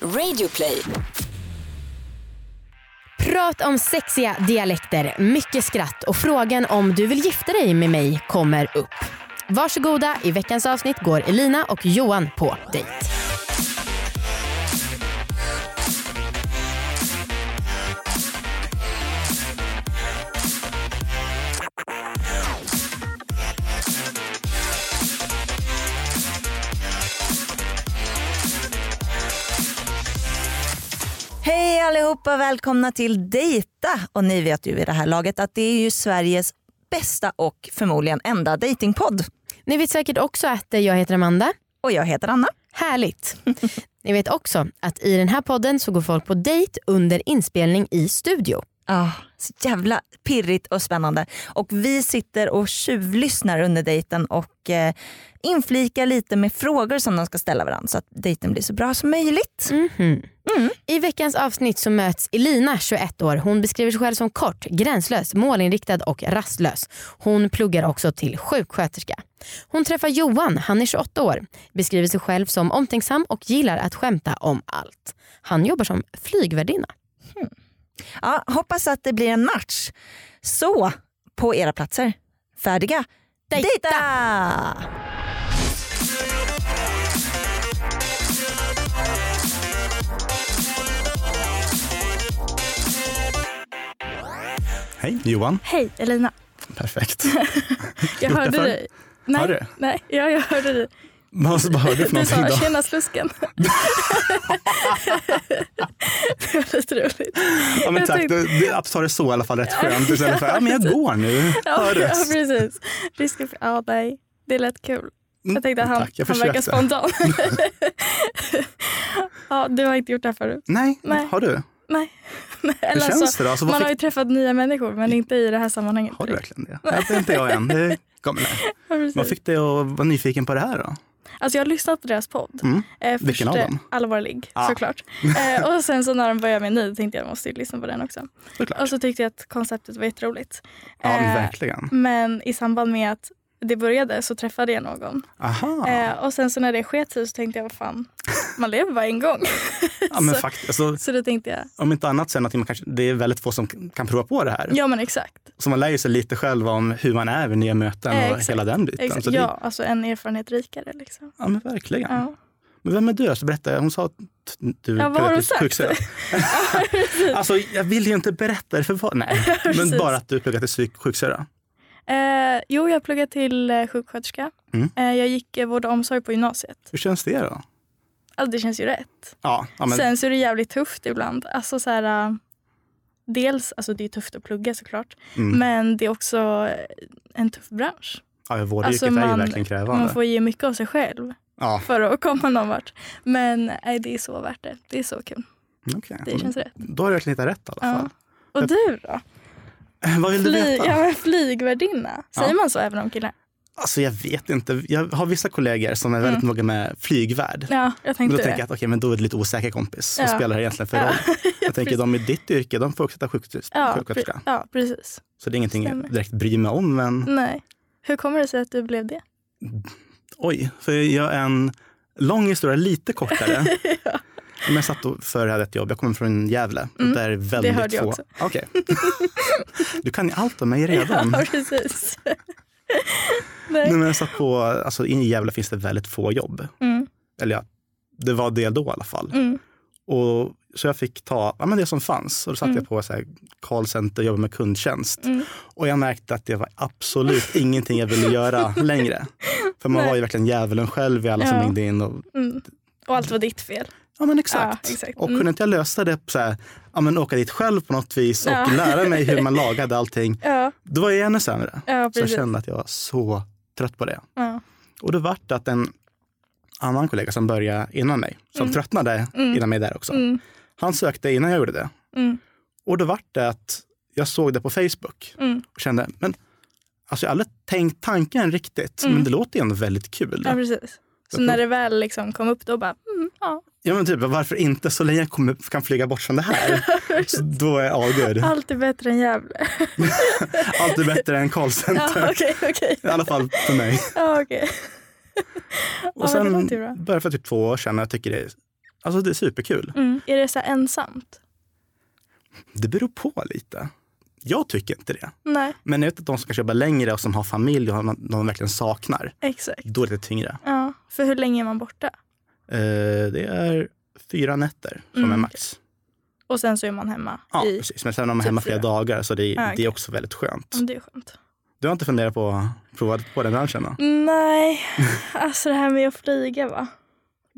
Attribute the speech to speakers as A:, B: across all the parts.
A: Radioplay.
B: Prat om sexiga dialekter, mycket skratt och frågan om du vill gifta dig med mig kommer upp. Varsågoda, i veckans avsnitt går Elina och Johan på dejt.
C: Hej allihopa, välkomna till Dejta. Och ni vet ju vid det här laget att det är ju Sveriges bästa och förmodligen enda datingpodd.
B: Ni vet säkert också att jag heter Amanda.
C: Och jag heter Anna.
B: Härligt. Ni vet också att i den här podden så går folk på dejt under inspelning i studio.
C: Ah, så jävla pirrigt och spännande. Och vi sitter och tjuvlyssnar under dejten och eh, inflikar lite med frågor som de ska ställa varandra så att dejten blir så bra som möjligt. Mm.
B: Mhm. I veckans avsnitt så möts Elina, 21 år. Hon beskriver sig själv som kort, gränslös, målinriktad och rastlös. Hon pluggar också till sjuksköterska. Hon träffar Johan, han är 28 år. Beskriver sig själv som omtänksam och gillar att skämta om allt. Han jobbar som flygvärdinna.
C: Ja, hoppas att det blir en match. Så, på era platser. Färdiga?
B: Dejta!
C: Dejta!
D: Hej Johan.
E: Hej Elina.
D: Perfekt.
E: Jag
D: Gjort det
E: hörde
D: förr?
E: dig. Nej,
D: Har du?
E: nej, ja, jag hörde dig.
D: Vad alltså, vad hörde du för
E: Du
D: någonting
E: sa
D: då?
E: tjena slusken. det var lite roligt.
D: Ja, men
E: jag typ-
D: tack,
E: tänkte-
D: du, du tar det så i alla fall rätt skönt istället för ja, men jag går nu.
E: Ja,
D: Hör
E: ja
D: röst.
E: precis. Risken för, ja nej, det lät kul. Jag tänkte att han,
D: Mm, tack, jag
E: han verkar
D: försökte.
E: spontan. ja, du har inte gjort det här förut.
D: Nej,
E: Nej.
D: har du?
E: Nej.
D: Hur
E: Eller
D: känns
E: alltså,
D: det då? Alltså,
E: man
D: vad
E: har ju
D: fick... Mm.
E: träffat nya människor men inte i det här sammanhanget.
D: Har du verkligen det? Nej, det är inte jag än. Det kommer där.
E: Ja, precis.
D: Vad fick dig att vara nyfiken på det här då?
E: Alltså jag har lyssnat på deras podd.
D: Mm.
E: Eh,
D: Vilken av
E: först, eh,
D: dem?
E: Allvarlig
D: Ah.
E: såklart. Eh, och sen så när de började med ny tänkte jag måste ju lyssna på den också.
D: Såklart.
E: Och så tyckte jag att konceptet var jätteroligt.
D: Ja,
E: Eh,
D: men verkligen.
E: men i samband med att det började så träffade jag någon.
D: Aha.
E: Eh, och sen så när det sket sig så tänkte jag vad fan, man lever bara en gång.
D: ja, men
E: så-
D: faktiskt. Alltså,
E: så då tänkte jag,
D: om inte annat så är det någonting man kanske, det är väldigt få som kan prova på det här.
E: ja men exakt.
D: Så man lär ju sig lite själv om hur man är vid nya möten
E: Eh,
D: och
E: exakt.
D: hela den biten.
E: exakt.
D: Så det,
E: Ja, alltså en erfarenhet rikare liksom.
D: ja, men verkligen.
E: Ja.
D: Men vem är du? Alltså, berätta. Hon sa att du
E: Ja, vad har
D: pluggar
E: hon
D: till
E: sagt?
D: sjuksköterska. alltså, jag vill ju inte berätta det för vad. Nej, men
E: Precis.
D: bara att du pluggar till psyk- sjuksköterska.
E: Eh, jo, jag pluggade till eh, sjuksköterska.
D: Mm.
E: Eh, jag gick eh, vård och omsorg på gymnasiet.
D: Hur känns det då?
E: Alltså det känns ju rätt.
D: Ja, ja men,
E: Sen så är det jävligt tufft ibland. Alltså så här, äh, dels, alltså det är tufft att plugga såklart,
D: mm.
E: men det är också eh, en tuff bransch.
D: ja, vårdyrket
E: alltså,
D: är ju
E: man-
D: verkligen
E: Man
D: krävande.
E: får ge mycket av sig själv
D: Ja,
E: för att komma någon vart. Men nej, det är så värt det. Det är så kul.
D: Mm, okej.
E: Det känns rätt.
D: Då har du verkligen hittat rätt i alla
E: Ja.
D: fall.
E: Och du då?
D: Vad vill du
E: Fly,
D: veta?
E: ja, men flygvärdinna. Säger
D: Ja.
E: man så även om killar?
D: Alltså, jag vet inte. Jag har vissa kollegor som är väldigt noga med flygvärd.
E: Ja, jag
D: Men då
E: tänkte
D: tänker
E: Mm. det.
D: jag att okej, men då är det lite osäker kompis. Vad
E: Ja.
D: spelar det egentligen för
E: Ja.
D: roll? Jag tänker de i ditt yrke, de får också heta sjuksköterska.
E: Ja, pre- ja, precis.
D: Så det är ingenting
E: Stämmer.
D: jag direkt bryr mig om. Men
E: Nej. Hur kommer det sig att du blev det?
D: Oj, för jag gör en lång historia lite kortare. Men jag satt och för jag hade ett jobb. Jag kommer från Gävle.
E: Mm,
D: där är väldigt
E: hörde jag
D: få.
E: också.
D: Okej. Du kan ju allt om mig redan.
E: Ja, precis.
D: Nej,
E: Nej.
D: men jag satt på, alltså, I Gävle finns det väldigt få jobb.
E: Mm,
D: Eller ja, det var det då i alla fall.
E: mm,
D: Och, så jag fick ta ja, men det som fanns. Och då satt
E: Mm.
D: jag på så här, callcenter och jobbade med kundtjänst.
E: mm.
D: Och jag märkte att det var absolut ingenting jag ville göra längre. För man
E: Nej.
D: var ju verkligen djävulen själv i alla som
E: Ja.
D: ringde in. Och,
E: Mm. Och allt var ditt fel.
D: Ja men exakt.
E: Ja, exakt.
D: Och
E: Mm.
D: kunde inte jag lösa det på så här, ja, men åka dit själv på något vis och
E: Ja.
D: lära mig hur man lagade allting,
E: Ja,
D: då var jag ännu sämre.
E: ja
D: Så jag
E: precis.
D: kände att jag var så trött på det.
E: ja.
D: Och då vart det att en annan kollega som började innan mig, som
E: Mm.
D: tröttnade
E: Mm.
D: innan mig där också,
E: Mm,
D: han sökte innan jag gjorde det.
E: mm,
D: Och då vart det att jag såg det på Facebook
E: mm.
D: och kände, men alltså jag har aldrig tänkt tanken riktigt,
E: Mm.
D: men det låter ju ändå väldigt kul.
E: ja, precis. Så när det väl liksom kom upp då bara, mm, ja,
D: Ja men typ, varför inte så länge jag kommer, kan flyga bort från det här? så då är jag avgud.
E: allt är bättre än Gävle.
D: Allt är bättre än callcenter.
E: Ja, okej, okej.
D: I alla fall för mig.
E: Ja, okej. Ja,
D: Och
E: men det
D: sen
E: låter ju bra.
D: började för typ två år sedan och jag tycker det är Alltså det är superkul.
E: Mm. Är det så här ensamt?
D: Det beror på lite. Jag tycker inte det.
E: Nej,
D: Men jag vet att de som kanske jobbar längre och som har familj och har- de verkligen saknar,
E: exakt.
D: då är det lite tyngre.
E: Ja. För hur länge är man borta?
D: Eh, det är fyra nätter som
E: Mm.
D: är max.
E: Och sen så är man hemma
D: Ja,
E: i...
D: precis. Men sen är man
E: typ
D: hemma flera
E: fyra.
D: dagar så det,
E: Ah,
D: det
E: okej.
D: är också väldigt skönt.
E: Ja, men Det är skönt.
D: Du har inte funderat på att prova på den branschen? Då?
E: Nej, alltså det här med att flyga va.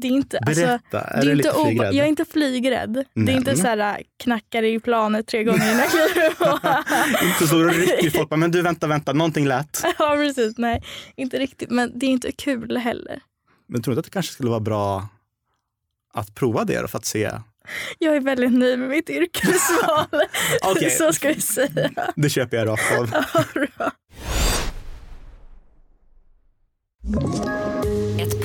E: Det är inte... Alltså,
D: Berätta, är
E: det
D: du
E: är
D: lite
E: inte obe-
D: flygrädd?
E: jag är inte flygrädd. Det är
D: Men.
E: inte så här äh, knackar i planet tre gånger innan jag kliver på.
D: Inte så då rycker folk bara, men du vänta, vänta, någonting lät.
E: Ja precis, nej inte riktigt men det är inte kul heller.
D: Men tror du inte att det kanske skulle vara bra att prova det då för att se?
E: Jag är väldigt nöjd med mitt yrkesval.
D: Okej,
E: Så ska vi säga.
D: det köper jag rakt av.
E: Bra.
A: Ett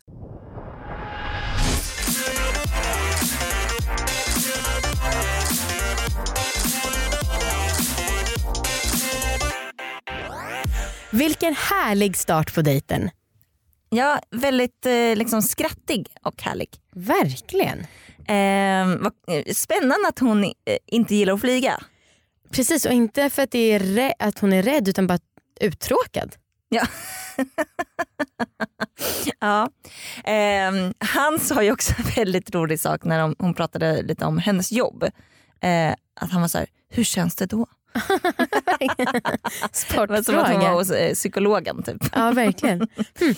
B: Vilken härlig start på dejten.
C: Ja, väldigt eh, liksom skrattig och härlig.
B: Verkligen.
C: Eh, vad, eh, spännande att hon eh, inte gillar att flyga.
B: Precis och inte för att, det är rä- att hon är rädd utan bara uttråkad.
C: Ja. ja. Ehm, han sa ju också en väldigt rolig sak när de, hon pratade lite om hennes jobb. Eh, att han var så här, hur känns det då? Det var som att hon var
B: Sportfråga.
C: hos eh, psykologen typ.
B: Ja verkligen. Hmm.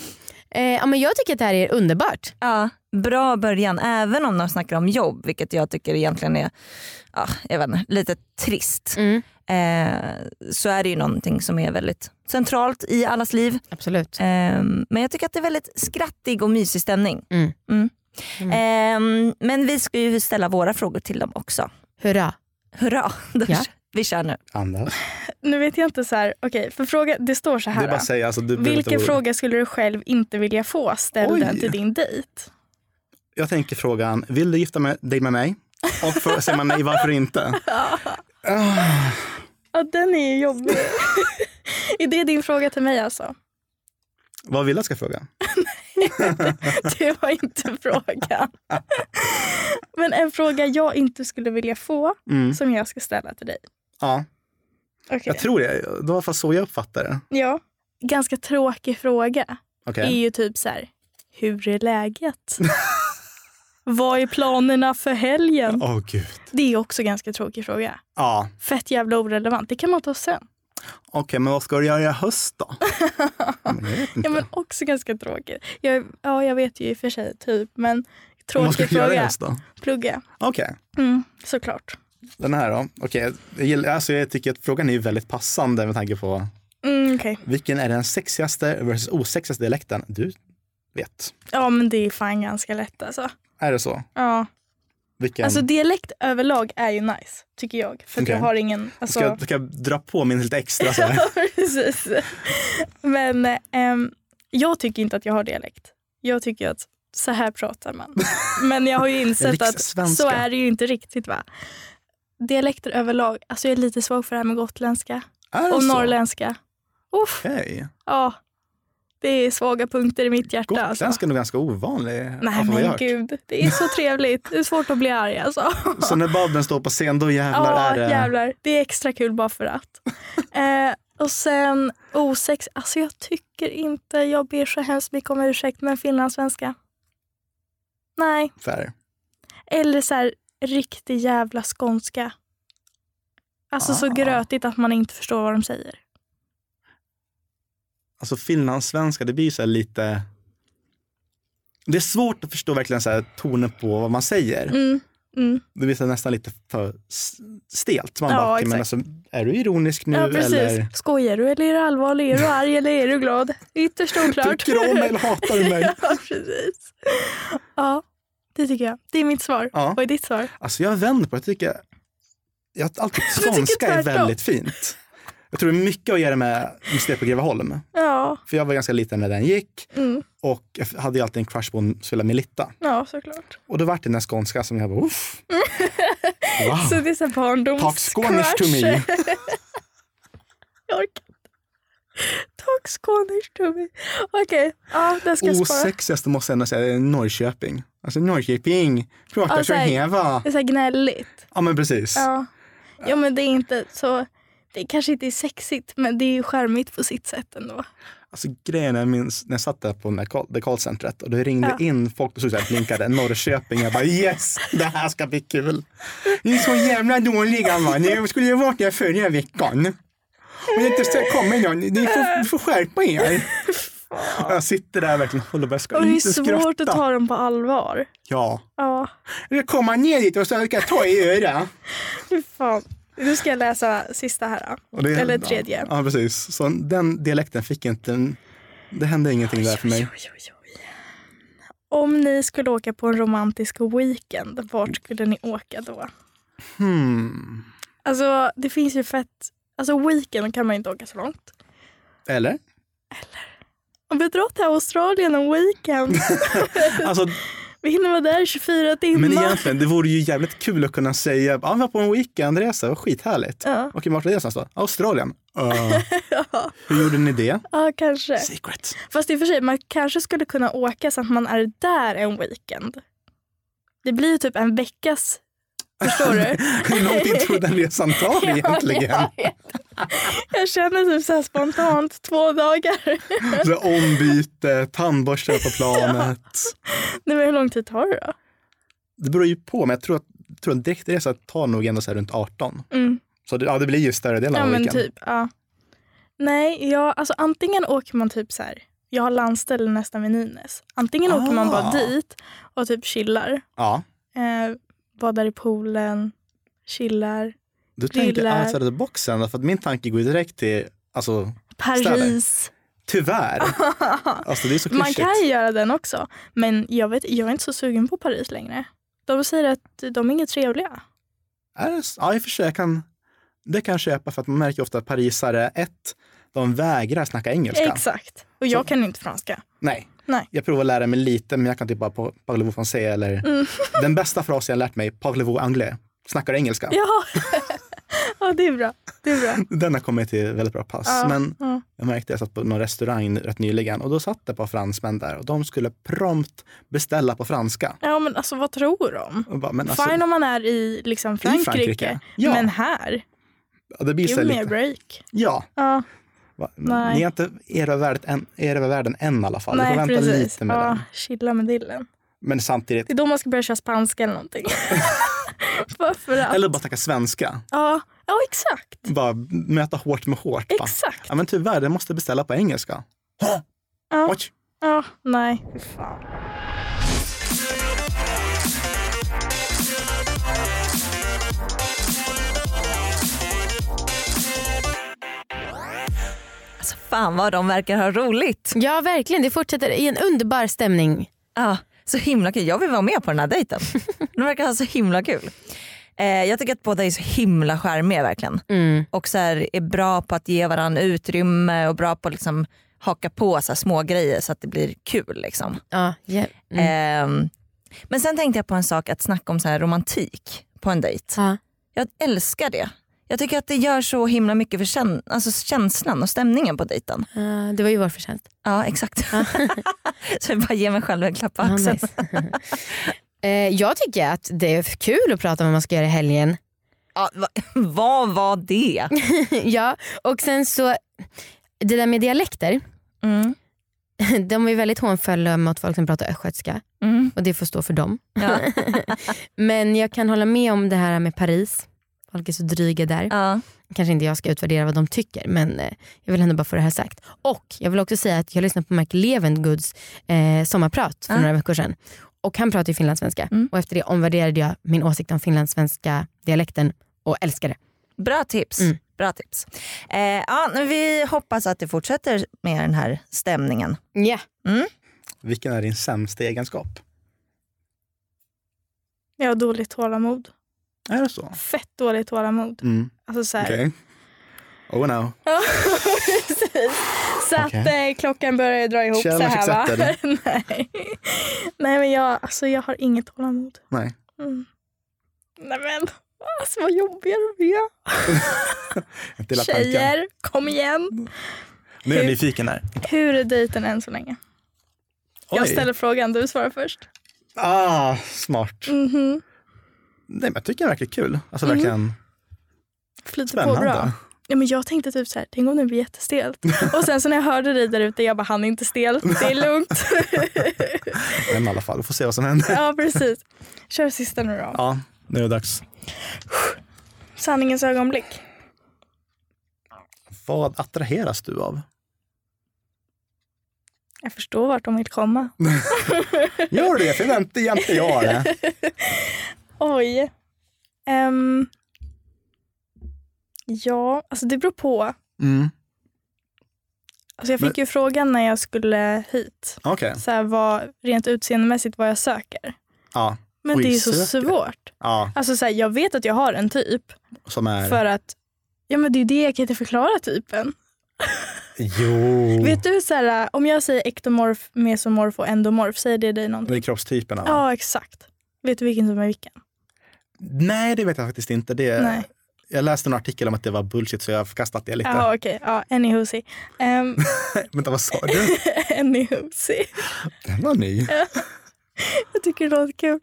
B: Eh, ja, men jag tycker att det här är underbart.
C: Ja, bra början även om de snackar om jobb vilket jag tycker egentligen är ja, jag vet inte, lite trist.
B: Mm.
C: Eh, så är det ju någonting som är väldigt centralt i allas liv.
B: Absolut.
C: Ehm, men jag tycker att det är väldigt skrattig och mysig stämning.
B: Mm.
C: Mm. Ehm, men vi ska ju ställa våra frågor till dem också.
B: Hurra.
C: Hurra! Då
B: Ja.
C: Vi kör nu.
D: Andas.
E: Nu vet jag inte så här, okej för fråga, det står så
D: Det är
E: här.
D: bara
E: då.
D: att säga. Alltså, du behöver inte
E: Vilken
D: oroa dig.
E: fråga skulle du själv inte vilja få ställd
D: Oj.
E: till din dejt?
D: Jag tänker frågan, vill du gifta med, dig med mig? Och för, säger man nej, varför inte? Ah,
E: Ja den är ju jobbig. är det din fråga till mig alltså?
D: vad vill jag ska fråga?
E: Det var inte frågan. Men en fråga jag inte skulle vilja få
D: Mm.
E: som jag ska ställa till dig.
D: Ja,
E: Okej.
D: jag tror det. Det var i alla fall så jag uppfattar det.
E: Ja. Ganska tråkig fråga
D: Okej.
E: är ju typ så här, hur är läget? Vad är planerna för helgen?
D: Åh gud.
E: Det är också ganska tråkig fråga.
D: Ja,
E: Fett jävla orelevant. Det kan man ta sen.
D: okej, men vad ska du göra i höst då? Ja, men jag vet inte.
E: Ja, men också ganska tråkig. Jag, ja, jag vet ju i och för sig, typ. Men
D: vad ska
E: tråkig
D: du göra i
E: fråga.
D: höst då?
E: Plugga.
D: Okej.
E: Mm, såklart.
D: Den här då? Okej, jag, gillar- alltså jag tycker att frågan är ju väldigt passande med tanke på
E: Mm, okej.
D: vilken är den sexigaste versus osexigaste dialekten du vet?
E: Ja, men det är fan ganska lätt alltså.
D: Är det så?
E: Ja.
D: Vilken?
E: Alltså dialekt överlag är ju nice, tycker jag. För att jag
D: Okej.
E: har ingen... Alltså...
D: ska, jag, ska jag dra på min lite extra så här?
E: Precis. Men eh, ehm, jag tycker inte att jag har dialekt. Jag tycker att så här pratar man. Men jag har ju insett att
D: Rikssvenska.
E: så är det ju inte riktigt. va. Dialekter överlag. Alltså jag är lite svag för det här med gotländska
D: Är det
E: och
D: så?
E: norrländska. Uff,
D: Okej.
E: ja. Det är svaga punkter i mitt hjärta.
D: Gotländska
E: Alltså.
D: är nog ganska ovanlig.
E: Nej
D: av vad jag
E: men
D: hört.
E: gud, det är så trevligt. Det är svårt att bli arg alltså.
D: Så när Babben står på scen, då jävlar
E: Ja
D: är det...
E: jävlar, det är extra kul bara för att. eh, och sen osex, alltså jag tycker inte, jag ber så hemskt mycket om ursäkt men finlandssvenska. Nej,
D: Fair.
E: eller så här riktig jävla skånska. Alltså så
D: Ah.
E: grötigt att man inte förstår vad de säger.
D: Alltså finlandssvenska, det blir ju så här lite... Det är svårt att förstå verkligen så här tonen på vad man säger.
E: Mm, mm.
D: Det blir så här nästan lite för s- stelt. Man
E: Ja,
D: bara, "Okej, men
E: exakt.
D: alltså, är du ironisk nu
E: ja precis.
D: eller
E: Skojar du eller är du allvarlig? Är du arg eller är du glad? Ytterst oklart.
D: tycker du om mig eller hatar du mig?
E: ja, precis. Ja, Det tycker jag. Det är mitt svar.
D: Ja.
E: Vad är ditt svar?
D: Alltså jag vänder på det. Jag tycker, jag alltid
E: tycker
D: skånska är
E: tvärtom.
D: väldigt fint. Jag tror det är mycket att göra med museet på Greveholm.
E: Ja,
D: För jag var ganska liten när den gick
E: mm.
D: och jag hade ju alltid en crush på en spela Melitta.
E: ja såklart.
D: Och då vart det den här skånska som jag bara, uff. Wow.
E: Så det är så här
D: Talk Skånish Ah, to
E: barndomscrush.
D: me.
E: Jag orkar inte. Talk Skånish to me. Okej, ja, den ska jag spara.
D: Osexigaste måste jag ändå säga är Norrköping. Alltså Norrköping pratar
E: Ja,
D: så
E: så här-
D: heva.
E: Det är så här gnälligt.
D: Ja men precis.
E: Ja. ja, men det är inte så... Det kanske inte är sexigt, men det är ju charmigt på sitt sätt ändå.
D: Alltså grejen är, jag minns när jag satt där på den här call- det callcentret och då ringde
E: Ja.
D: in folk och så här blinkade Norrköping. Jag bara yes, det här ska bli kul. Ni är så jävla dåliga man. Ni skulle ju varit där förra veckan. Och det är inte så- kommer någon. Ni får, ni får skärpa er. Och jag sitter där verkligen och håller på. Jag ska
E: Och det är
D: inte
E: svårt
D: skratta.
E: att ta dem på allvar.
D: Ja.
E: Ja,
D: Jag ska komma ner dit och så ska jag ta i öra.
E: fy fan. Nu ska jag läsa sista här. då.
D: Och det-
E: Eller tredje.
D: Ja, precis. Så den dialekten fick inte... Det hände ingenting där för mig.
E: Oj, oj, oj. Om ni skulle åka på en romantisk weekend, vart skulle ni åka då?
D: Hmm.
E: Alltså, det finns ju fett... Alltså, weekend kan man ju inte åka så långt.
D: Eller?
E: Om vi drar till Australien en weekend.
D: Alltså,
E: Vi hinner vara där i 24 timmar.
D: men egentligen, det vore ju jävligt kul att kunna säga ja, vi var på en weekendresa, vad skithärligt.
E: Ja,
D: Okej, vart var det någonstans då? Australien. Uh, hur gjorde ni det?
E: ja, kanske.
D: Secret.
E: Fast i och för sig, man kanske skulle kunna åka så att man är där en weekend. Det blir ju typ en veckas... Förstår du?
D: Hur lång tid tog den resan tar egentligen?
E: Ja, jag vet. Jag känner typ så här spontant två dagar.
D: Så ombyte, tandborste på planet.
E: Nej, men hur lång tid tar det då?
D: Det beror ju på, men jag tror att, jag tror att direktresa tar nog ändå så här runt 18.
E: Mm.
D: Så det, ja, det blir ju större delen
E: Ja,
D: av
E: men
D: weekend.
E: typ. Ja. Nej, ja, alltså antingen åker man typ så här. Jag har landställe nästan vid Nynäs. Antingen åker man bara
D: Ah.
E: dit och typ chillar.
D: Ja.
E: Eh, badar i poolen, chillar.
D: Du tänker
E: Grillar.
D: outside of the box ändå, för att min tanke går ju direkt till, alltså
E: Paris.
D: tyvärr. alltså det är så
E: Man
D: klyschigt.
E: kan ju göra den också. Men jag, vet, jag är inte så sugen på Paris längre. De säger att de är inget trevliga.
D: Är det s- Ja, i och för sig, jag kan, det kan jag köpa för att man märker ofta att parisare, ett, de vägrar snacka engelska.
E: Exakt. Och jag kan inte franska.
D: Nej.
E: Nej.
D: Jag provar att lära mig lite, men jag kan typ bara på parlez-vous français eller
E: Mm.
D: den bästa frasen jag lärt mig, parlez-vous anglais. Snackar du engelska?
E: Ja. ja, det är bra. Det är bra.
D: Den har kommit till väldigt bra pass.
E: Ja,
D: Men
E: ja.
D: jag märkte att jag satt på någon restaurang rätt nyligen och då satt det ett par fransmän där och de skulle prompt beställa på franska.
E: Ja, men alltså vad tror de?
D: Och bara, men alltså,
E: Fine om man är i liksom Frankrike,
D: Frankrike, ja.
E: men här,
D: Ja, det blir så
E: give
D: här
E: me a
D: lite,
E: break.
D: ja,
E: Ja,
D: va,
E: Nej.
D: ni har inte era världen än, era världen än i alla fall. du får
E: nej
D: vänta
E: precis.
D: lite med
E: Ja,
D: den.
E: chilla med dillen.
D: Men samtidigt,
E: Det är då man ska börja köra spanska eller någonting. Varför att?
D: eller bara snacka svenska.
E: Ja, ja exakt.
D: Bara möta hårt med hårt. Bara.
E: Exakt.
D: Ja, men tyvärr, det måste beställa på engelska.
E: Ja.
D: Oj.
E: Ja, nej. Fy fan.
C: Alltså, fan vad de verkar ha roligt.
B: Ja verkligen, det fortsätter i en underbar stämning.
C: Ja, så himla kul. Jag vill vara med på den här dejten. De verkar ha så himla kul. Eh, jag tycker att båda är så himla charmiga verkligen.
B: Mm.
C: Och så här, är bra på att ge varandra utrymme och bra på att liksom, haka på så här, små grejer så att det blir kul. Liksom.
B: Ja, ja. Mm.
C: Ehm, men sen tänkte jag på en sak, att snacka om så här romantik på en dejt.
B: Ja.
C: Jag älskar det. Jag tycker att det gör så himla mycket för kän- alltså känslan och stämningen på dejten.
B: Ja, Eh, det var ju vår förtjänst.
C: Ja exakt. så jag bara ger mig själv en klapp på
B: Ja,
C: axeln.
B: nice. Eh, jag tycker att det är kul att prata om vad man ska göra i helgen.
C: Ja, va, vad var det?
B: ja, och sen så, det där med dialekter,
C: Mm.
B: de är ju väldigt hånfulla mot folk som pratar östgötska
C: Mm.
B: och det får stå för dem.
C: Ja.
B: Men jag kan hålla med om det här med Paris. Folk är så dryga där.
C: Ja.
B: Kanske inte jag ska utvärdera vad de tycker men eh, jag vill ändå bara få det här sagt. Och jag vill också säga att jag lyssnade på Mark Levengoods eh, sommarprat för
C: Ah.
B: några veckor sedan. Och han pratar ju finlandssvenska
C: Mm.
B: och efter det omvärderade jag min åsikt om finlandssvenska dialekten och älskar det.
C: Bra tips.
B: Mm.
C: Bra tips. Eh, ja, men vi hoppas att det fortsätter med den här stämningen.
B: Yeah.
D: Vilken är din sämsta egenskap?
E: Jag har dåligt tålamod.
D: Är det så?
E: Fett dåligt tålamod.
D: Mm.
E: Alltså så här.
D: Okej. Oh no.
E: Precis. Så
D: Okej. typ
E: att eh, klockan börjar dra ihop
D: Challenge
E: så här va?
D: accepted.
E: Nej. Nej men jag, alltså, jag har inget tålamod.
D: Nej.
E: Mm. Nej men alltså vad jobbiga de är.
D: Inte illa tanken.
E: Tjejer, kom igen.
D: Nu är jag nyfiken här.
E: Hur är dejten än så länge? Jag
D: Oj.
E: ställer frågan, du svarar först.
D: Ah, smart.
E: Mhm.
D: Nej, men jag tycker det verkar kul. Alltså verkligen
E: Flyter på bra.
D: spännande.
E: Ja, men jag tänkte typ så här, tänk om det blir jättestelt. Och sen så när jag hörde dig där ute, jag bara, han är inte stel, det är lugnt.
D: Men i alla fall, vi får se vad som händer.
E: ja, precis. Kör sista nu då.
D: Ja, nu är det dags.
E: Sanningens ögonblick.
D: Vad attraheras du av?
E: Jag förstår vart de vill komma.
D: Gör det, för inte jämte jag det.
E: Oj. Ehm. ja, alltså det beror på.
D: Mm.
E: Alltså jag fick
D: Men-
E: ju frågan när jag skulle hit,
D: Okej.
E: så här, vad, rent utseendemässigt vad jag söker.
D: Ja.
E: Men
D: Oj,
E: det är ju så
D: söker.
E: svårt.
D: ja,
E: Alltså så här, jag vet att jag har en typ
D: som är...
E: för att Ja men det är ju det jag kan inte förklara typen.
D: Jo.
E: Vet du så här, om jag säger ektomorf, mesomorf och endomorf, säger det dig någonting?
D: Det är kroppstyperna. va?
E: Ja exakt. Vet du vilken som är vilken?
D: Nej, det vet jag faktiskt inte. Det,
E: Nej.
D: Jag läste en artikel om att det var bullshit så jag har förkastat det lite.
E: Jaha okej, ja anyhoosy. Um,
D: Vänta, vad sa du?
E: anyhoosy.
D: Den var ny.
E: Jag tycker det låter kul.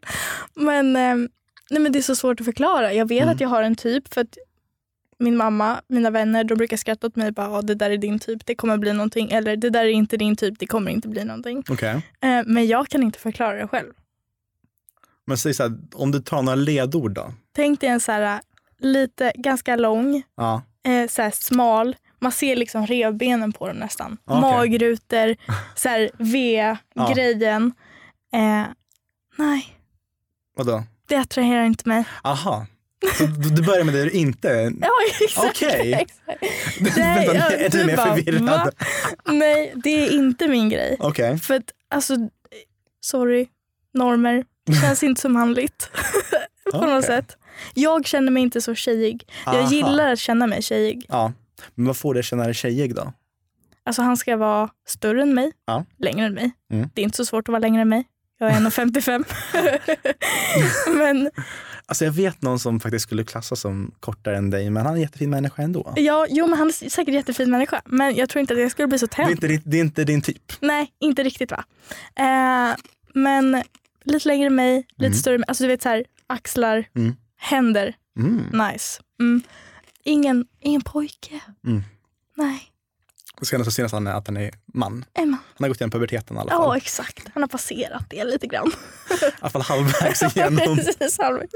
E: Men, ehm, nej, men det är så svårt att förklara. Jag vet att jag har en typ för att min mamma, mina vänner, de brukar skratta åt mig och bara "Ah, det där är din typ, det kommer bli någonting. Eller det där är inte din typ, det kommer inte bli någonting.
D: Okej.
E: Eh, men jag kan inte förklara det själv.
D: Men säg så här, om du tar några ledord då?
E: Tänk dig en så här lite, ganska lång,
D: Ja.
E: eh, så här smal, man ser liksom revbenen på dem nästan.
D: Ah, Okej.
E: Magrutor, så här
D: Ja.
E: V-grejen. Eh, nej,
D: Vadå?
E: det attraherar inte mig.
D: Aha. Så du du börjar med det du inte...
E: Ja, exakt.
D: Okej.
E: exakt. Nej,
D: Vänta, nu
E: ja,
D: är jag ännu
E: du
D: mer
E: bara, va?
D: förvirrad.
E: Nej, det är inte min grej.
D: Okej.
E: För att, alltså, sorry, normer. Det känns inte som manligt på något
D: Okej.
E: sätt. Jag känner mig inte så tjejig. Jag
D: Aha.
E: gillar att känna mig tjejig.
D: Ja. Men vad får dig att känna dig tjejig då?
E: Alltså han ska vara större än mig,
D: Ja.
E: längre än mig.
D: Mm.
E: Det är inte så svårt att vara längre än mig. Jag är 1,55. men
D: Alltså jag vet någon som faktiskt skulle klassas som kortare än dig, men han är en jättefin människa ändå.
E: ja, jo, men han är säkert en jättefin människa. Men jag tror inte att jag skulle bli så
D: Det är
E: tänd.
D: inte, ditt- det är inte din typ.
E: Nej, inte riktigt va. Eh, men lite längre än mig, lite
D: Mm.
E: större. Alltså du vet så här, axlar,
D: Mm.
E: händer,
D: Mm.
E: nice. Mm. Ingen, ingen pojke.
D: Mm.
E: Nej,
D: Det ska nästan synas han är- att han är man.
E: Emma.
D: Han har gått igenom puberteten i alla fall.
E: Ja, exakt. Han har passerat det lite grann.
D: I alla fall halvvägs igenom.
E: Precis, halvvägs.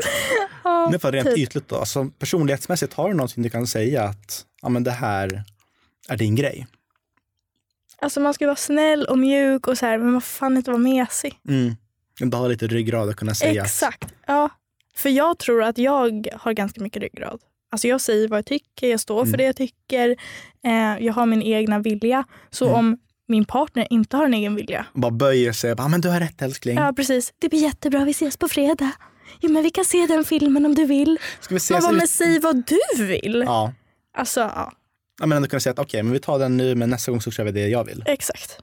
E: Ja,
D: Nu för rent
E: typ.
D: ytligt då. Alltså, personlighetsmässigt har du någonting du kan säga att ja, men det här är din grej?
E: Alltså man ska vara snäll och mjuk och så här, men man får fan inte vara mesig.
D: Mm. Du har lite ryggrad att kunna säga
E: Exakt. Ja. För jag tror att jag har ganska mycket ryggrad. Alltså jag säger vad jag tycker, jag står för
D: Mm.
E: det jag tycker. Eh, jag har min egna vilja. Så
D: Mm.
E: om min partner inte har en egen vilja.
D: att bara böjer sig och bara, "Ja, men du har rätt älskling.
E: Ja precis. Det blir jättebra, vi ses på fredag. Jo men vi kan se den filmen om du vill.
D: Ska vi ses
E: Man bara,
D: ut?
E: men säg vad du vill.
D: Ja.
E: Alltså ja,
D: ja, men ändå kunna säga att okej, men vi tar den nu, men nästa gång så kör vi det jag vill.
E: exakt.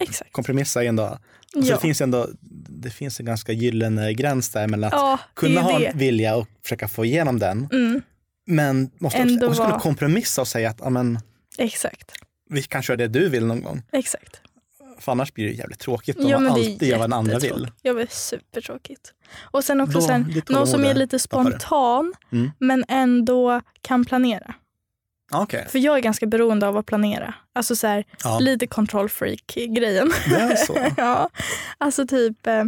E: Exakt.
D: Kompromissa är ändå, alltså,
E: ja.
D: det finns ändå, det finns en ganska gyllene gräns där mellan att
E: ja, det
D: kunna
E: är
D: ha
E: ju
D: en
E: det.
D: vilja och försöka få igenom den,
E: Mm,
D: men måste
E: Ändå
D: också, också kunna
E: vara-
D: kompromissa och säga att ja, men,
E: exakt.
D: vi kan köra det du vill någon gång.
E: Exakt.
D: För annars blir det jävligt tråkigt om man
E: men det är
D: alltid gör vad den andra
E: jättetråkigt.
D: vill.
E: Ja, men supertråkigt. Och sen också
D: Då-
E: sen,
D: det tålamodet
E: någon som är lite
D: tappar du.
E: spontan
D: Mm.
E: men ändå kan planera.
D: Ja, Okej,
E: För jag är ganska beroende av att planera. Alltså så här,
D: ja,
E: lite kontrollfreak-grejen.
D: det är så.
E: ja. Alltså typ, eh,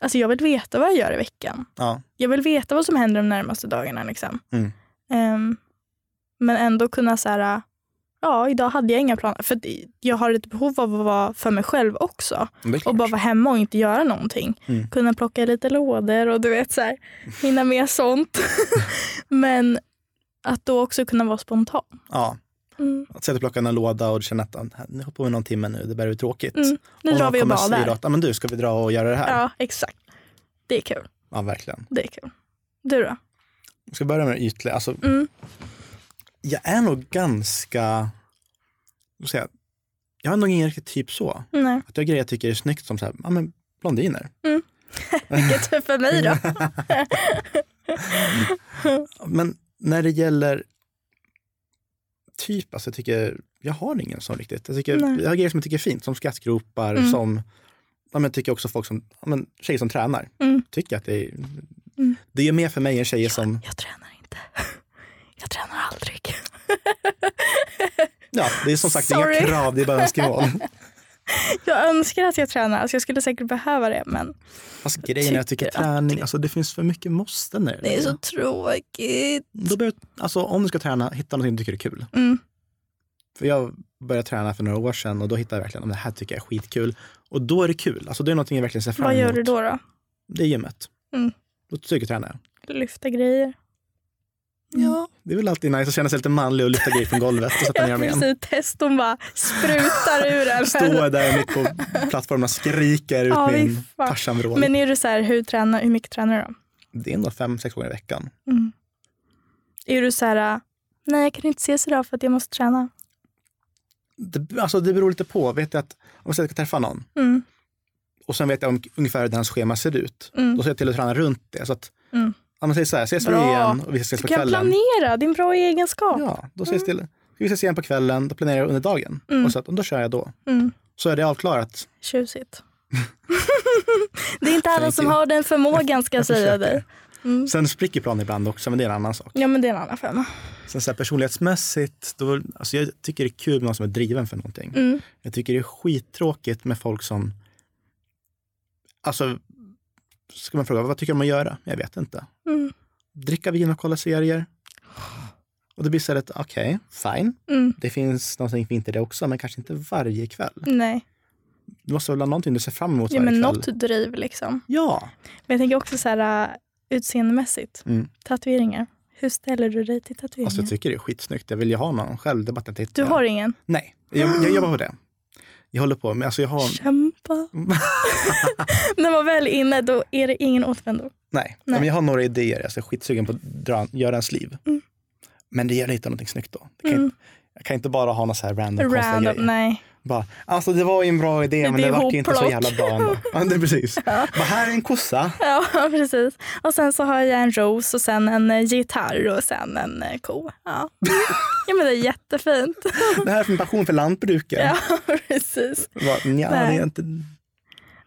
E: alltså jag vill veta vad jag gör i veckan.
D: Ja.
E: Jag vill veta vad som händer de närmaste dagarna. Liksom.
D: Mm.
E: Ehm, men ändå kunna så här, ja idag hade jag inga planer. För att jag har ett behov av att vara för mig själv också
D: men det är klart.
E: och bara vara hemma och inte göra någonting.
D: Mm.
E: Kunna plocka i lite lådor och du vet så här, hinna med sånt. Men att då också kunna vara spontan.
D: Ja.
E: Mm.
D: Att sätta och plocka en låda och känna att "Ah, nu hoppar vi någon timme nu, det börjar bli tråkigt.
E: Mm, Nu
D: Och
E: drar
D: man
E: vi och
D: kommer och säger
E: badar.
D: Att, "Ah, men du, ska vi dra och göra det här?
E: Ja, exakt. Det är kul.
D: Ja, verkligen.
E: Det är kul. Du då?
D: Jag ska börja med det ytliga. Alltså,
E: Mm.
D: jag är nog ganska, vad ska jag, säga, jag har nog ingen riktigt typ så.
E: Nej.
D: Att jag grejer jag tycker är snyggt som så här, ja men blondiner.
E: Vilket är för mig då.
D: Men när det gäller typ, alltså jag tycker, jag har ingen sån riktigt. Jag, tycker,
E: Nej.
D: jag har grejer som jag tycker är fint, som skrattgropar,
E: Mm.
D: som, ja men jag tycker också folk som, ja men tjejer som tränar.
E: Mm.
D: Tycker att det är,
E: Mm.
D: det är mer för mig än tjejer som,
E: Jag tränar inte. Jag tränar aldrig.
D: ja det är som sagt
E: Sorry.
D: inga krav, det är bara önskemål.
E: Jag önskar att jag tränar. Alltså jag skulle säkert behöva det men
D: Alltså grejen är jag tycker
E: tycker att
D: träning, alltså det finns för mycket måste när
E: det är så tråkigt.
D: Då bör, alltså, om du ska träna, hitta någonting du tycker är kul.
E: Mm.
D: För jag började träna för några år sedan och då hittade jag verkligen om det här tycker jag är skitkul. Och då är det kul. Alltså, det är någonting jag verkligen ser fram
E: Vad
D: emot.
E: gör du då? då?
D: Det är gymmet.
E: Mm.
D: Då styrketränar jag.
E: Lyfta grejer?
D: Ja. Det är väl alltid nice att känna sig lite manlig och lyfta grejer från golvet och sätta ner dem
E: Jag vill
D: igen.
E: säga test, hon bara sprutar ur en.
D: Står där mitt på plattformen och skriker ut
E: Ja, fy
D: min
E: fan.
D: Tarzanvrål.
E: Men är du så här, hur, tränar, hur mycket tränar du då?
D: Det är ändå fem, sex gånger i veckan.
E: Mm. Är du så här, äh, nej jag kan inte ses idag för att jag måste träna.
D: Det, alltså, det beror lite på. Vet jag att om jag säger att jag ska träffa någon
E: Mm.
D: och sen vet jag om, ungefär hur deras schema ser ut.
E: Mm.
D: Då ser jag till att träna runt det. Så att,
E: Mm.
D: ja, men säg så här, ses vi
E: Bra.
D: igen och vi ses
E: Du
D: på
E: kan
D: kvällen.
E: planera, din bra egenskap.
D: Ja, då ses till, vi ses igen på kvällen, då planerar jag under dagen.
E: Mm.
D: Och så att, då kör jag då.
E: Mm.
D: Så är det avklarat.
E: Tjusigt. det är inte alla
D: Thank
E: som
D: you.
E: har den förmågan ska jag säga
D: försöker.
E: dig. Mm.
D: Sen spricker planen ibland också, men det är en annan sak.
E: Ja men det är en annan femma.
D: Sen så här, personlighetsmässigt, då, alltså jag tycker det är kul med någon som är driven för någonting.
E: Mm.
D: Jag tycker det är skittråkigt med folk som, alltså, ska man fråga, vad tycker de om att göra? Jag vet inte.
E: Mm.
D: Dricka vin och kolla serier. Och det blir så här, att, okej, fine.
E: Mm.
D: Det finns någonting fint i det också, men kanske inte varje kväll.
E: Nej,
D: Du måste väl ha någonting du ser fram emot
E: ja,
D: varje
E: men
D: kväll?
E: något driv liksom.
D: Ja,
E: Men jag tänker också så här äh, utseendemäsigt.
D: Mm.
E: Tatueringar. Hur ställer du dig till tatueringar?
D: alltså jag tycker det är skitsnyggt. Jag vill ju ha någon själv. Det är bara att jag tittar.
E: du har ingen?
D: Nej, jag, jag jobbar på det. Jag håller på, men alltså jag har...
E: Kämpa. När man väl är inne då är det ingen återvändo.
D: Nej, Ja, men jag har några idéer. Alltså, jag är skitsugen på att dra, göra en sliv.
E: Mm.
D: Men det gäller att hitta någonting snyggt då. Det kan inte, jag kan inte bara ha några så här random, konstiga
E: Random,
D: grejer.
E: nej.
D: Bara, alltså det var ju en bra idé, men
E: blir
D: det vart ju inte så
E: hopplock.
D: jävla bra ändå. Ja, det, är precis. Bara, här är en kossa.
E: Ja, precis. Och sen så har jag en ros och sen en eh, gitarr och sen en eh, ko. Ja. ja, men det är jättefint.
D: Det här är en passion för lantbruket.
E: Ja, precis.
D: Bara, nja, det
E: Nej.
D: är inte...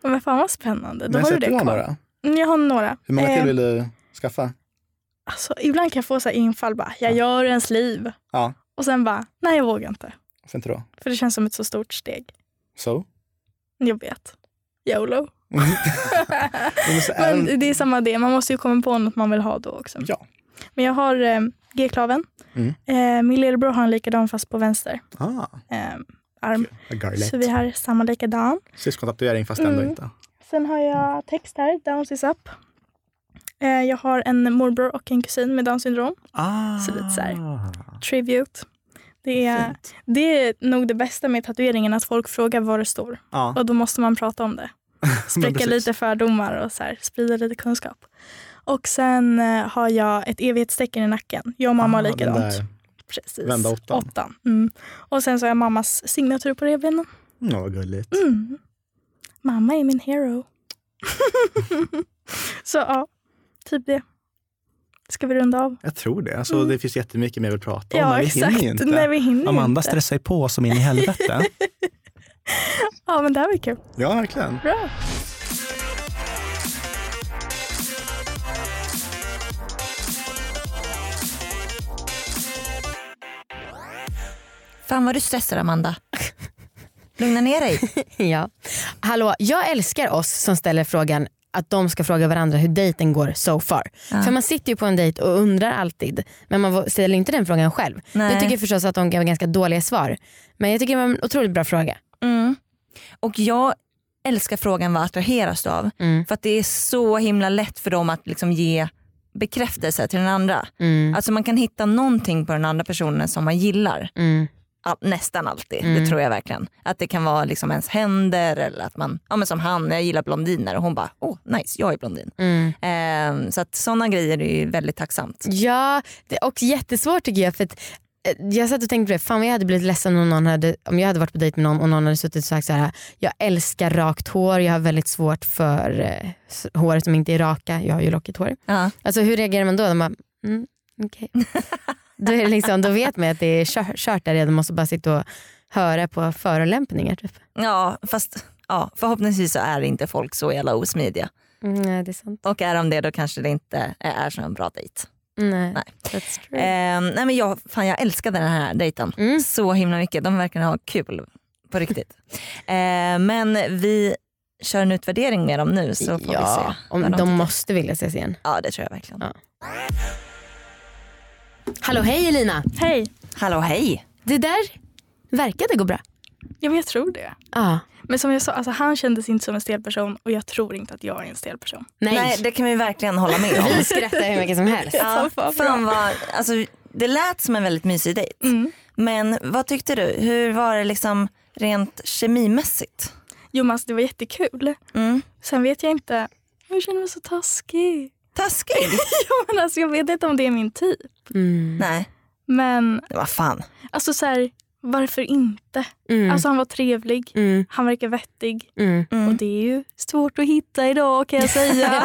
E: Ja, Men fan vad spännande. Då
D: Men
E: har du
D: jag
E: det
D: du har
E: kvar.
D: några.
E: Mm, Jag har några.
D: Hur många
E: Eh,
D: till vill du skaffa?
E: alltså, ibland kan jag få så här infall bara, jag gör ens liv.
D: Ja,
E: Och sen bara, nej jag vågar inte.
D: varför inte då?
E: För det känns som ett så stort steg.
D: So?
E: Jag vet. YOLO.
D: Ja, men så är en-
E: Men det är samma det, man måste ju komma på något man vill ha då också.
D: Ja.
E: Men jag har eh, G-klaven.
D: Mm.
E: Eh, min lillebror har en likadan fast på vänster
D: Ah,
E: eh, arm.
D: a garlic.
E: Så vi har samma likadan.
D: Syskontatuering fast
E: Mm.
D: ändå inte.
E: Sen har jag text här, Downs is up. Eh, jag har en morbror och en kusin med Downs syndrom.
D: Ah.
E: Så lite så här. Tribute. Det är, det är nog det bästa med tatueringen, att folk frågar vad det står.
D: Ja.
E: Och då måste man prata om det. Spräcka
D: precis.
E: lite fördomar och så här, sprida lite kunskap. Och sen eh, har jag ett evighetstecken i nacken. Jag och mamma har
D: Ah, den
E: likadant.
D: där.
E: Precis.
D: Vända åttan.
E: Mm. Och sen så har jag mammas signatur på revbenen.
D: Ja, vad gulligt.
E: Mm. Mamma är min hero. så ja, typ det. Ska vi runda av?
D: Jag tror det. Alltså, Det finns jättemycket mer vi vill prata om,
E: Mm. ja,
D: men vi
E: exakt.
D: hinner ju inte.
E: Nej, vi hinner ju
D: Amanda
E: inte.
D: stressar ju på som in i helvete.
E: Ja, men det här var ju kul.
D: ja, verkligen.
E: Bra.
C: Fan vad du stressar Amanda. Lugna ner dig.
B: Ja. Hallå, jag älskar oss som ställer frågan att de ska fråga varandra hur dejten går so far. För man sitter ju på en dejt och undrar alltid men man vå- ställer inte den frågan själv.
C: Nej.
B: Jag tycker förstås att de gav ganska dåliga svar. Men jag tycker det var en otroligt bra fråga.
C: Mm. Och jag älskar frågan vad attraheras du av?
B: Mm.
C: För att det är så himla lätt för dem att liksom ge bekräftelse till den andra.
B: Mm,
C: Alltså man kan hitta någonting på den andra personen som man gillar.
B: mm,
C: all, nästan alltid. Det tror jag verkligen. Att det kan vara liksom ens händer eller att man, ja men som han, jag gillar blondiner och hon bara, åh oh, nice, jag är blondin.
B: Mm.
C: Eh, så att sådana grejer är ju väldigt tacksamt.
B: Ja, det är också jättesvårt tycker jag. För att, eh, jag satt och tänkte på det, fan vad jag hade blivit ledsen om, någon hade, om jag hade varit på dejt med någon och någon hade suttit och sagt så här: jag älskar rakt hår, jag har väldigt svårt för eh, s- håret som inte är raka, jag har ju lockigt hår.
C: Ja.
B: Alltså hur reagerar man då? De bara, mm, okej. då, är det liksom, då vet man att det är kör- kört där redan, måste bara sitta och höra på förolämpningar. Typ.
C: Ja, fast ja, förhoppningsvis så är inte folk så jävla osmidiga.
B: Mm, nej det är sant.
C: Och är de det då kanske det inte är så en bra dejt.
B: Nej.
C: Nej.
B: That's true.
C: Eh, nej men jag, fan, jag älskade den här dejten
B: Mm.
C: så himla mycket. De verkar ha kul på riktigt. eh, men vi kör en utvärdering med dem nu så får vi
B: ja,
C: se.
B: om
C: vad
B: de,
C: tycker.
B: måste vilja ses igen.
C: Ja det tror jag verkligen.
B: Ja. Hallå hej Elina!
E: Hej.
C: Hallå hej!
B: Det där verkade gå bra.
E: Ja, men jag tror det.
B: Ah,
E: Men som jag sa, alltså, han kändes inte som en stel person och jag tror inte att jag är en stel person.
B: nej.
C: Nej det kan vi verkligen hålla med om.
B: Vi skrattar hur mycket som helst.
C: ja,
E: fan,
C: fan vad, alltså, det lät som en väldigt mysig dejt. Men vad tyckte du? Hur var det liksom rent kemimässigt?
E: Jo men alltså, det var jättekul.
C: Mm.
E: Sen vet jag inte, jag känner mig så taskig.
C: Taskig?
E: Ja, men alltså, jag vet inte om det är min typ.
B: Mm.
C: Nej,
E: Men
C: men vad fan.
E: alltså så här, varför inte?
B: Mm.
E: Alltså han var trevlig,
B: Mm.
E: han verkar vettig.
B: Mm.
C: Mm.
E: Och det är ju svårt att hitta idag kan jag säga.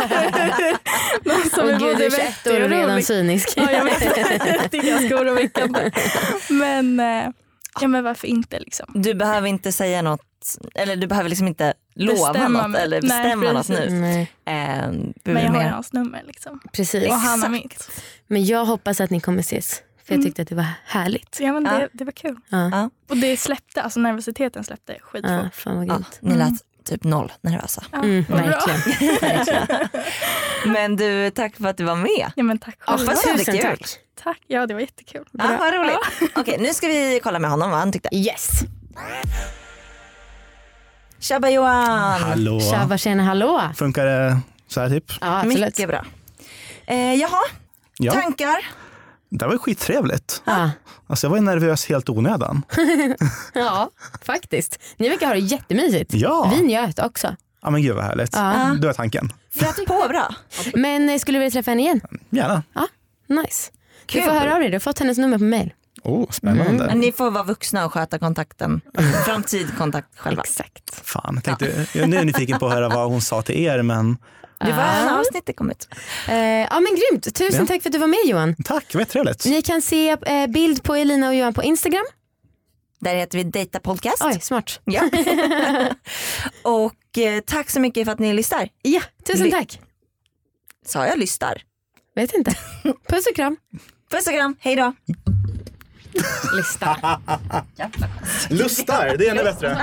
E: Någon som
B: Åh
E: är
B: gud, du är 21
E: både vettig
B: år och
E: och
B: redan
E: rolig.
B: cynisk.
E: Ja, jag vet. Det är ganska oroväckande. Men, eh, ja, men varför inte liksom?
C: Du behöver inte säga något, eller du behöver liksom inte lova
E: Bestämma
C: något
E: mig.
C: eller
E: Nej,
C: bestämma något
E: precis. Mm.
C: nu.
B: Nej,
C: Ehm, du
E: Men
C: är
E: jag har
C: med.
E: hans nummer liksom.
B: precis.
E: Och han har mitt.
B: Men jag hoppas att ni kommer ses. För
E: Mm.
B: jag tyckte att det var härligt.
E: Så ja, men
C: Ja.
E: det, det var kul.
B: Ja.
C: Ja.
E: Och det släppte, alltså nervositeten släppte skitfort.
B: Ja, fan vad
C: ja,
B: grymt.
C: ni
E: Mm.
C: lät typ noll nervösa.
E: Ja,
B: Mm,
E: vad bra.
B: verkligen. verkligen.
C: Men du, tack för att du var med.
E: Ja men tack
B: Ja,
E: själv.
C: vad
B: tusen
C: kul.
B: tack.
E: Tack. Ja det var jättekul.
C: Ja, vad roligt. Okej, nu ska vi kolla med honom vad han tyckte.
B: Yes.
C: Tjabba Johan!
F: Hallå.
B: Tjabba tjena hallå.
F: Funkar det så här typ?
B: Ja, absolut.
C: Mycket bra. Eh, jaha,
F: Ja,
C: tankar?
F: det var skittrevligt.
B: Ja.
F: Alltså jag var ju nervös helt onödan.
B: ja, faktiskt. Ni verkar ha det jättemysigt.
F: Ja.
B: Vi njöt också.
F: Ja men gud vad härligt. Mm.
B: Ja.
F: Du har tanken.
C: Flöt på bra.
B: Men eh, skulle du vilja träffa henne igen?
F: Gärna.
B: Nice.
C: Kul.
B: Du får höra av dig, du har fått hennes nummer på mail.
F: Oh, spännande.
C: Men ni får vara vuxna och sköta kontakten. Framtid kontakt själva.
B: Exakt.
F: Fan, jag tänkte, jag- nu är jag nyfiken på att höra vad hon sa till er men
C: Det var en avsnitt det kom ut.
B: Eh, ja men grymt, tusen
F: Ja.
B: tack för att du var med Johan.
F: tack, det var trevligt.
B: Ni kan se eh, bild på Elina och Johan på Instagram.
C: Där heter vi Dejta Podcast.
B: Oj, smart.
C: Ja. och eh, tack så mycket för att ni lyssnar.
B: Ja, tusen
C: Ly-
B: tack.
C: Sa jag lyssnar?
B: Vet inte. Puss och kram.
C: Puss och kram, hej då.
B: Lista.
F: Lustar, det är ännu bättre.